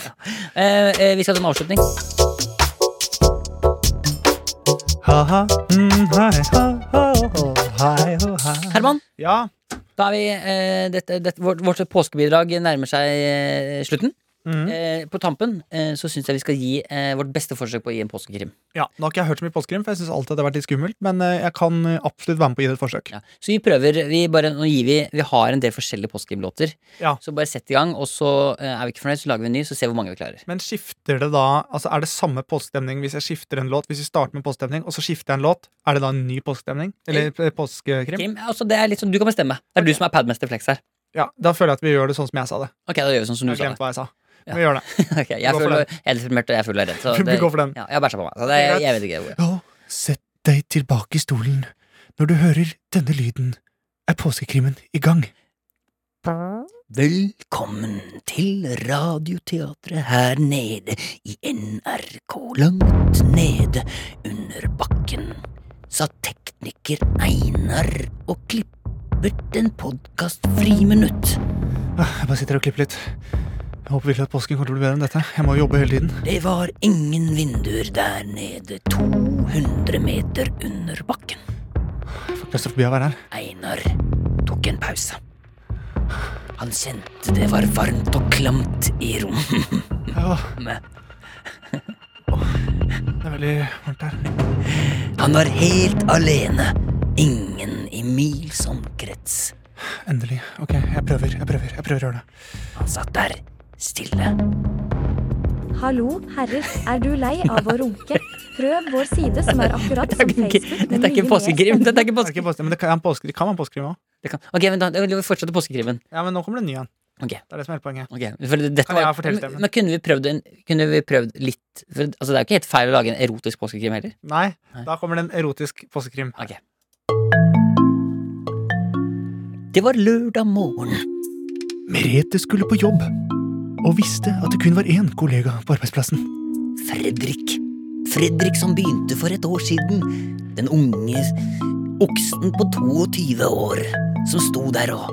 S3: Eh, eh, vi skal til en avslutning.
S2: ha-ha, mm, hei, ha, ha, ho, hei, ho, ha.
S3: Herman,
S2: Ja,
S3: da er vi, eh, dette, dette, vårt, vårt påskebidrag nærmer seg eh, slutten.
S2: mm.
S3: Eh, på tampen eh, så syns jeg vi skal gi eh, vårt beste forsøk på å gi en påskekrim.
S2: ja. Nå har ikke jeg hørt så mye påskekrim, for jeg syns alltid det har vært litt skummelt. Men eh, jeg kan eh, absolutt være med på å gi det et forsøk.
S3: Ja. Så vi prøver. Vi, bare, nå gir vi, vi har en del forskjellige påskekrimlåter.
S2: Ja.
S3: Så bare sett i gang, og så eh, er vi ikke fornøyd, så lager vi en ny, så ser vi hvor mange vi klarer.
S2: Men skifter det da Altså er det samme påskestemning hvis jeg skifter en låt? Hvis jeg starter med påskestemning, og så skifter jeg en låt, er det da en ny påskestemning? Eller eh, påskekrim?
S3: Krim, altså, det er litt sånn, du kan bestemme. Det er du som er padmester Flex her.
S2: Ja, da føler jeg at vi gjør det sånn som jeg sa det.
S3: Ok, da gjør vi sånn som du
S2: Jeg
S3: sa. det.
S2: glemte hva jeg sa.
S3: Ja.
S2: Vi gjør det.
S3: Ok, jeg,
S2: Gå for
S3: føler,
S2: den.
S3: jeg er litt deprimert, og jeg føler jeg er redd. Så
S2: Vi går for den.
S3: Ja, jeg har bæsja på meg. Så det,
S2: Greit.
S3: jeg vet ikke hvor.
S2: Ja, sett deg tilbake i stolen. Når du hører denne lyden, er påskekrimmen i gang.
S3: Velkommen til Radioteatret her nede i NRK langt nede under bakken. Sa tekniker Einar og klippet en podkast friminutt.
S2: Jeg bare sitter og klipper litt. Jeg håper virkelig at påsken kommer til å bli bedre enn dette. Jeg må jobbe hele tiden.
S3: Det var ingen vinduer der nede 200 meter under bakken.
S2: Jeg får klaustrofobi av å være her.
S3: Einar tok en pause. Han kjente det var varmt og klamt i rommet.
S2: Ja. Det er veldig varmt her.
S3: Han var helt alene. Ingen i sånn mils omkrets.
S2: Endelig. Ok, jeg prøver, jeg prøver. Jeg prøver å gjøre det.
S3: Han satt der, stille.
S7: Hallo, herrer. Er du lei av å runke? Prøv vår side, som er akkurat som Facebook. men mye mer spennende.
S3: Dette er ikke
S2: Det, er ikke påske, men det kan, det påske, det kan være en påskekrim òg.
S3: Det kan- Ok, vent da, da vil vi fortsette påskekrimen.
S2: Ja, men nå kommer det en ny en.
S3: Ok.
S2: Det er det som er hele poenget.
S3: ok. For det- dette
S2: Kan jeg
S3: var-
S2: fortelle stemmen?
S3: Men kunne vi prøvd, en, kunne vi prøvd litt for, altså Det er jo ikke helt feil å lage en erotisk påskekrim heller.
S2: Nei,
S3: Nei.
S2: da kommer det en erotisk påskekrim.
S3: Ok. Det var lørdag morgen.
S2: Merete skulle på jobb, og visste at det kun var én kollega på arbeidsplassen.
S3: Fredrik. Fredrik som begynte for et år siden. Den unge oksen på 22 år som sto der og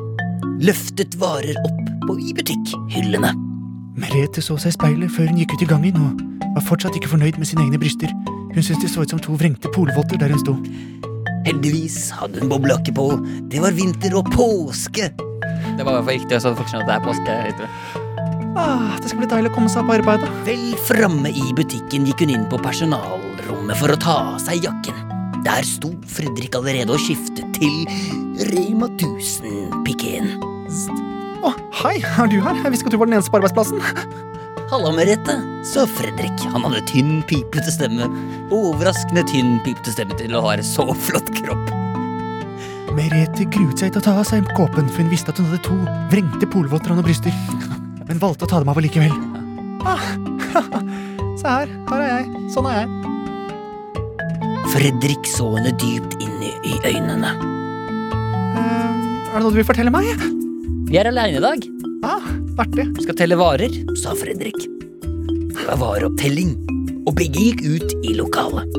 S3: løftet varer opp på, i butikkhyllene.
S2: Merete så seg i speilet før hun gikk ut i gangen, og var fortsatt ikke fornøyd med sine egne bryster. Hun syntes de så ut som to vrengte polvotter der hun sto.
S3: Heldigvis hadde hun boblejakke på. Det var vinter og påske. Det var i hvert fall riktig så folk skjønner at det er påske. heter det.
S2: Ah, det skal bli deilig å komme seg på arbeid, da.
S3: Vel framme i butikken gikk hun inn på personalrommet for å ta av seg jakken. Der sto Fredrik allerede og skiftet til Rema 1000-pikeen.
S2: Å, hei, er du her? Jeg visste ikke at du var den eneste på arbeidsplassen.
S3: Halla, Merete, sa Fredrik. Han hadde tynn, pipete stemme. Overraskende tynn, pipete stemme til å ha en så flott kropp.
S2: Merete gruet seg til å ta av seg kåpen, for hun visste at hun hadde to vrengte polvotter av noen bryster, men valgte å ta dem av allikevel. Ah, se her, her er jeg. Sånn er jeg.
S3: Fredrik så henne dypt inn i, i øynene.
S2: Eh, er det noe du vil fortelle meg?
S3: Vi er aleine i dag.
S2: Ah, artig.
S3: Vi skal telle varer, sa Fredrik. Det var vareopptelling, og begge gikk ut i lokalet.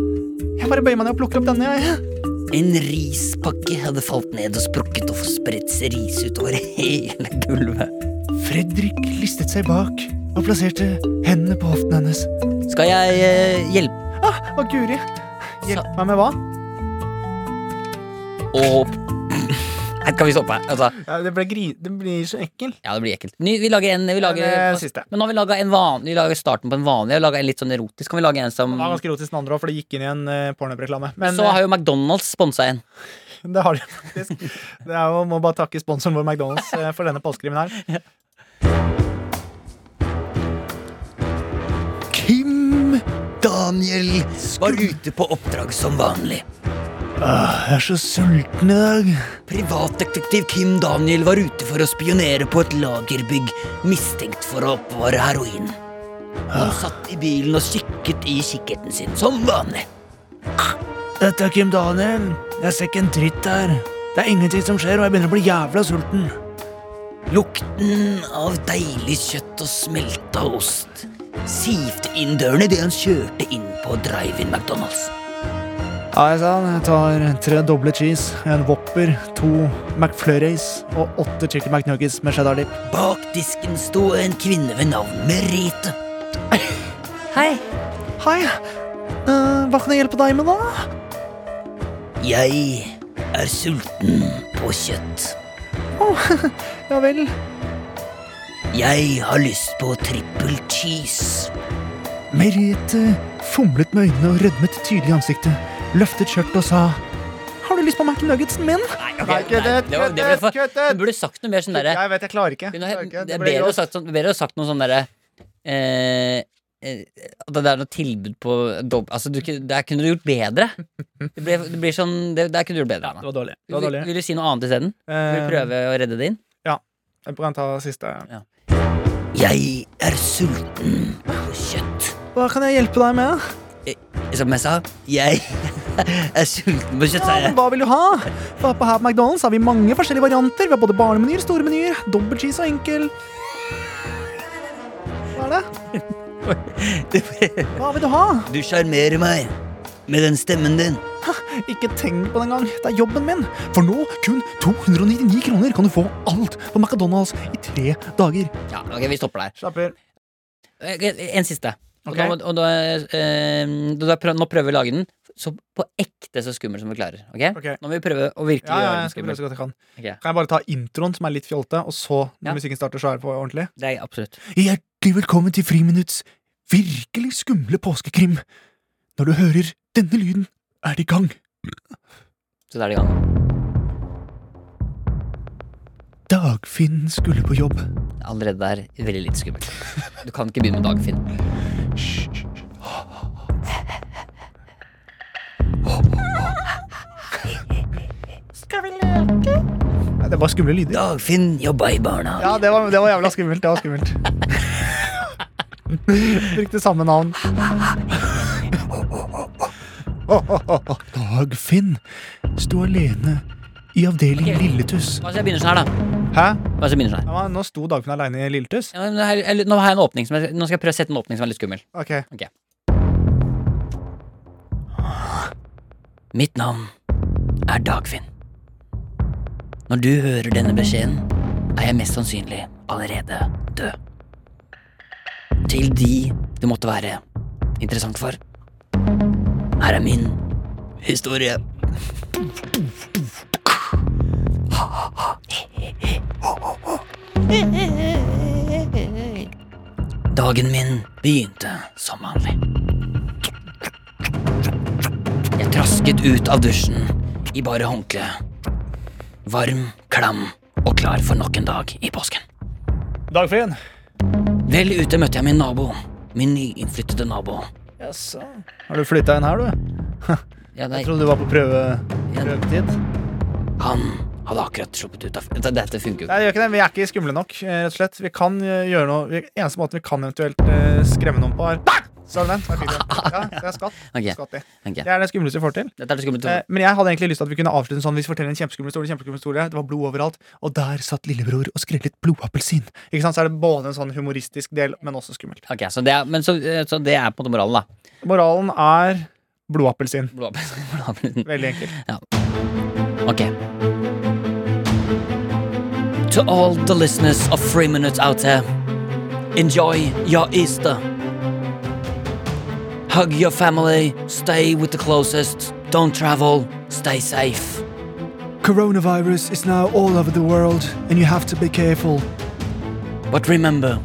S2: Jeg bare bøyer meg ned og plukker opp denne, jeg.
S3: En rispakke hadde falt ned og sprukket og spredt seg ris utover hele gulvet.
S2: Fredrik listet seg bak og plasserte hendene på hoften hennes.
S3: Skal jeg eh, hjelpe
S2: Ah, å, Guri. Hjelp meg med hva?
S3: å Her kan vi stoppe. Altså,
S2: det, blir så ekkel.
S3: Ja, det blir ekkelt. Ny, vi lager en vi lager,
S2: Den, eh, siste.
S3: Men nå har vi laga en vanlig. Vi lager starten på en vanlig. Vi lager en litt sånn erotisk. Kan vi lage en som
S2: Det var ganske rotisk den andre òg, for det gikk inn i en eh, pornoreklame. Men
S3: Så
S2: eh,
S3: har jo McDonald's sponsa en.
S2: det har de faktisk. Det er jo, må bare takke sponsoren vår McDonald's eh, for denne påskekrimen her.
S5: Kim Daniel
S3: Var ute på oppdrag som vanlig.
S2: Jeg er så sulten i dag.
S3: Privatdetektiv Kim Daniel var ute for å spionere på et lagerbygg, mistenkt for å oppbevare heroin. Han satt i bilen og kikket i kikkerten sin, som vanlig.
S2: Dette er Kim Daniel. Jeg ser ikke en dritt her. Det er ingenting som skjer, og jeg begynner å bli jævla sulten.
S3: Lukten av deilig kjøtt og smelta ost sivte inn døren idet han kjørte inn på drive-in McDonald's.
S2: Hei sann, jeg tar tre doble cheese, en Whopper, to McFlurries og åtte chicken McNuggets med cheddar dip.
S3: Bak disken sto en kvinne ved navn Merete.
S2: Hei. Eh, hva kan jeg hjelpe deg med, da?
S5: Jeg er sulten på kjøtt.
S2: Ja vel.
S5: Jeg har lyst på trippel cheese.
S2: Merete fomlet med øynene og rødmet tydelig i ansiktet, løftet skjørtet og sa Har du lyst på McNuggetsen min?
S3: Nei, ok,
S2: Nei, køddet,
S3: nei, det var- det ble
S2: køddet,
S3: for-
S2: køddet.
S3: Du burde sagt noe mer sånn derre
S2: Jeg vet, jeg klarer ikke.
S3: Hun
S2: Klarer
S3: har-
S2: ikke.
S3: Det er
S2: blir
S3: bedre å
S2: grovt.
S3: sagt, sånn- bedre å sagt noe sånn derre eh, eh, At det er noe tilbud på dobb... Altså, du, kunne- der kunne du gjort bedre. Det, ble, det blir sånn det, Der kunne du gjort bedre,
S2: Det
S3: Anna.
S2: var dårlig. Det var
S3: Vil,
S2: dårlig. Eh.
S3: vil du si noe annet isteden? Vil du prøve å redde det inn?
S2: Jeg kan ta siste.
S5: Jeg er sulten på kjøtt.
S2: Hva kan jeg hjelpe deg med?
S5: Som jeg sa, jeg er sulten på kjøtt,
S2: Ja,
S5: sa
S2: men
S5: jeg.
S2: hva vil du ha? For på her på McDonald's har vi mange forskjellige varianter. Vi har både barnemenyer, store menyer, dobbelt cheese og enkel. Hva er det? Hva vil du ha?
S5: Du sjarmerer meg med den stemmen din.
S2: Ikke tenk på det engang. Det er jobben min. For nå, kun 299 kroner, kan du få alt på McDonald's i tre dager.
S3: Ja, ok, vi stopper der.
S2: Slapper.
S3: Eh, En siste. Og
S2: Ok.
S3: da må- og da, eh, da, da prøv, nå prøver vi å lage den så på ekte så skummel som vi klarer. ok?
S2: Ok.
S3: Nå må vi prøve å virkelig
S2: Ja, ja,
S3: gjøre den
S2: jeg skal prøve
S3: skummel.
S2: så godt jeg kan.
S3: Ok.
S2: Kan jeg bare ta introen, som er litt fjolte, og så, når
S3: Ja.
S2: musikken starter, så er det på ordentlig?
S3: Det er absolutt.
S2: Hjertelig velkommen til Friminutts virkelig skumle påskekrim. Når du hører denne lyden, er det i gang.
S3: Så da er det i gang.
S2: Dagfinn skulle på jobb.
S3: Allerede der veldig lite skummelt. Du kan ikke begynne med Dagfinn.
S2: Nei, det var skumle lyder.
S5: Dagfinn jobba i barna.
S2: Ja, det var, det var jævla skummelt. Det var skummelt. Brukte samme navn. Dagfinn sto alene i avdeling
S3: Ok.
S2: Lilletuss.
S3: Hva hvis jeg begynner sånn her, da?
S2: Hæ?
S3: Hva hvis jeg begynner sånn her?
S2: Ja, men nå sto Dagfinn aleine i Lilletuss.
S3: Ja, men det her- eller, Nå har jeg en åpning som jeg, Nå skal jeg prøve å sette en åpning som er litt skummel.
S2: Ok.
S3: Mitt navn er Dagfinn. Når du hører denne beskjeden, er jeg mest sannsynlig allerede død. Til de det måtte være interessant for, her er min historie. Dagen min begynte som vanlig. Jeg trasket ut av dusjen i bare håndkle. Varm, klam og klar for nok en dag i påsken.
S2: Dagfinn.
S3: Vel ute møtte jeg min nabo. Min nyinnflyttede nabo.
S2: Jaså. Har du flytta inn her, du?
S3: Ja, nei,
S2: Jeg trodde du var på prøve, prøvetid.
S3: han hadde akkurat sluppet ut av Dette- Dette funker jo ikke.
S2: Nei, det gjør ikke det. Vi er ikke skumle nok, eh, rett og slett. Vi kan eh, gjøre noe vi, Eneste måten vi kan eventuelt eh, skremme noen på, er Så er det den. Der fikk du den. Ja, så jeg skatt.
S3: Ok,
S2: skatt i.
S3: ok.
S2: Det er det skumleste vi får til.
S3: Dette er det skumle
S2: Eh,
S3: to-
S2: Men jeg hadde egentlig lyst til at vi kunne avslutte en sånn. Vi forteller en kjempeskummel historie, kjempeskummel historie. Det var blod overalt. Og der satt lillebror og skrellet blodappelsin. Ikke sant? Så er det både en sånn humoristisk del, men også skummelt.
S3: Ok, så det er, men så, eh, så det er på en måte moralen, da.
S2: Moralen er blodappelsin.
S3: Blåbærsen.
S2: Veldig enkelt.
S3: Ok. To all the listeners of Three Minutes out there, enjoy your Easter. Hug your family, stay with the closest, don't travel, stay safe.
S2: Coronavirus is now all over the world, and you have to be careful.
S3: But remember,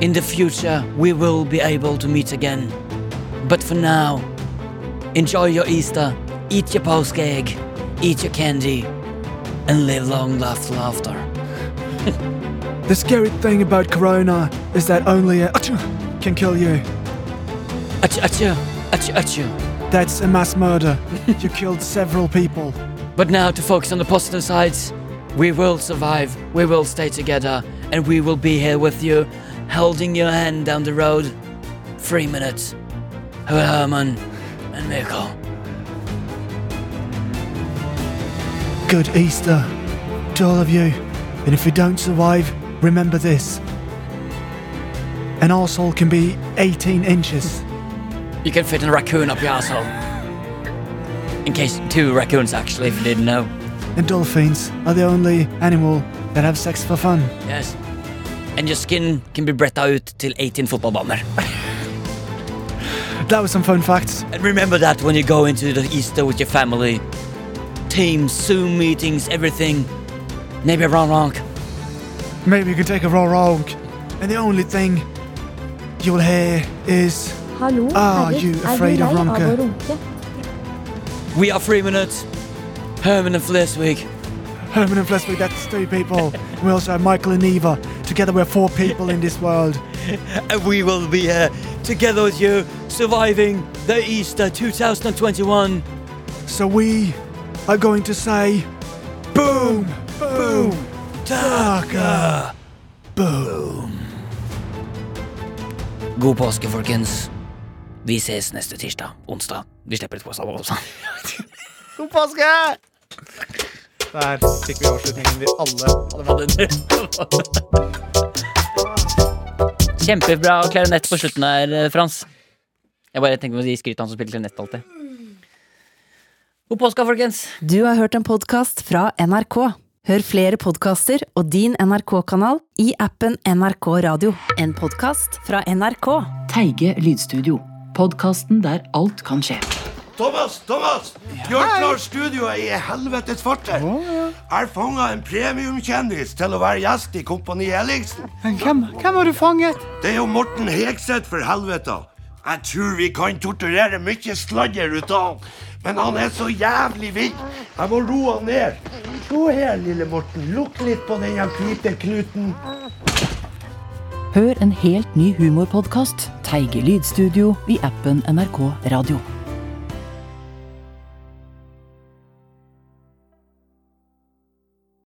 S3: in the future we will be able to meet again. But for now, enjoy your Easter, eat your post egg, eat your candy, and live long, laugh, laughter.
S2: The scary thing about corona is that only a can kill you.
S3: Achoo, achoo, achoo, achoo.
S2: That's a mass murder. you killed several people.
S3: But now to focus on the positive sides. We will survive, we will stay together, and we will be here with you, holding your hand down the road. Three minutes. Her- Herman and Mikko.
S2: Good Easter to all of you. And if you don't survive, remember this. An arsehole can be 18 inches.
S3: You can fit a raccoon up your asshole. In case two raccoons, actually, if you didn't know.
S2: And dolphins are the only animal that have sex for fun.
S3: Yes. And your skin can be breathed out till 18 football bomber.
S2: That was some fun facts.
S3: And remember that when you go into the Easter with your family, Teams, Zoom meetings, everything. Maybe I'm wrong.
S5: Maybe you can take a raw wrong. And the only thing you'll hear is
S7: Hallo,
S5: Ah,
S7: herrer,
S5: you
S7: er
S5: afraid
S7: du
S5: of
S7: lei av å
S5: Ronke?
S7: runke?
S3: We are three minutes. Herman and Flesvig.
S5: Herman and Flesvig, that's three people. We also have Michael and Eva. Together we're four people in this world.
S3: And we will be here together with you, surviving the Easter 2021.
S5: So we are going to say boom, boom, Taka.
S3: God påske, folkens. Vi ses neste tirsdag. Onsdag. Vi slipper et påstand også.
S5: God påske! Der fikk vi avslutningen vi alle
S3: Kjempebra klarinett på slutten der, Frans. Jeg bare tenker på å gi skryt til han som spiller klarinett alltid. God påske, folkens.
S1: Du har hørt en podkast fra NRK. Hør flere podkaster og din NRK-kanal i appen NRK Radio. En podkast fra NRK.
S8: Teige lydstudio. Podkasten der alt kan skje.
S9: Thomas, Thomas! Bjørklar Studio er i helvetes farter. Jeg fanga en premiumkjendis til å være gjest i Kompani Ellingsen.
S5: Hvem, hvem har du fanget?
S9: Det er jo Morten Hegseth, for helvete. Jeg tror vi kan torturere mye sladder ut av han. Men han er så jævlig vill. Jeg må roe han ned. Se her, lille Morten. Lukk litt på den her hvite knuten.
S8: Hør en helt ny humorpodkast, Teige lydstudio, i appen NRK Radio.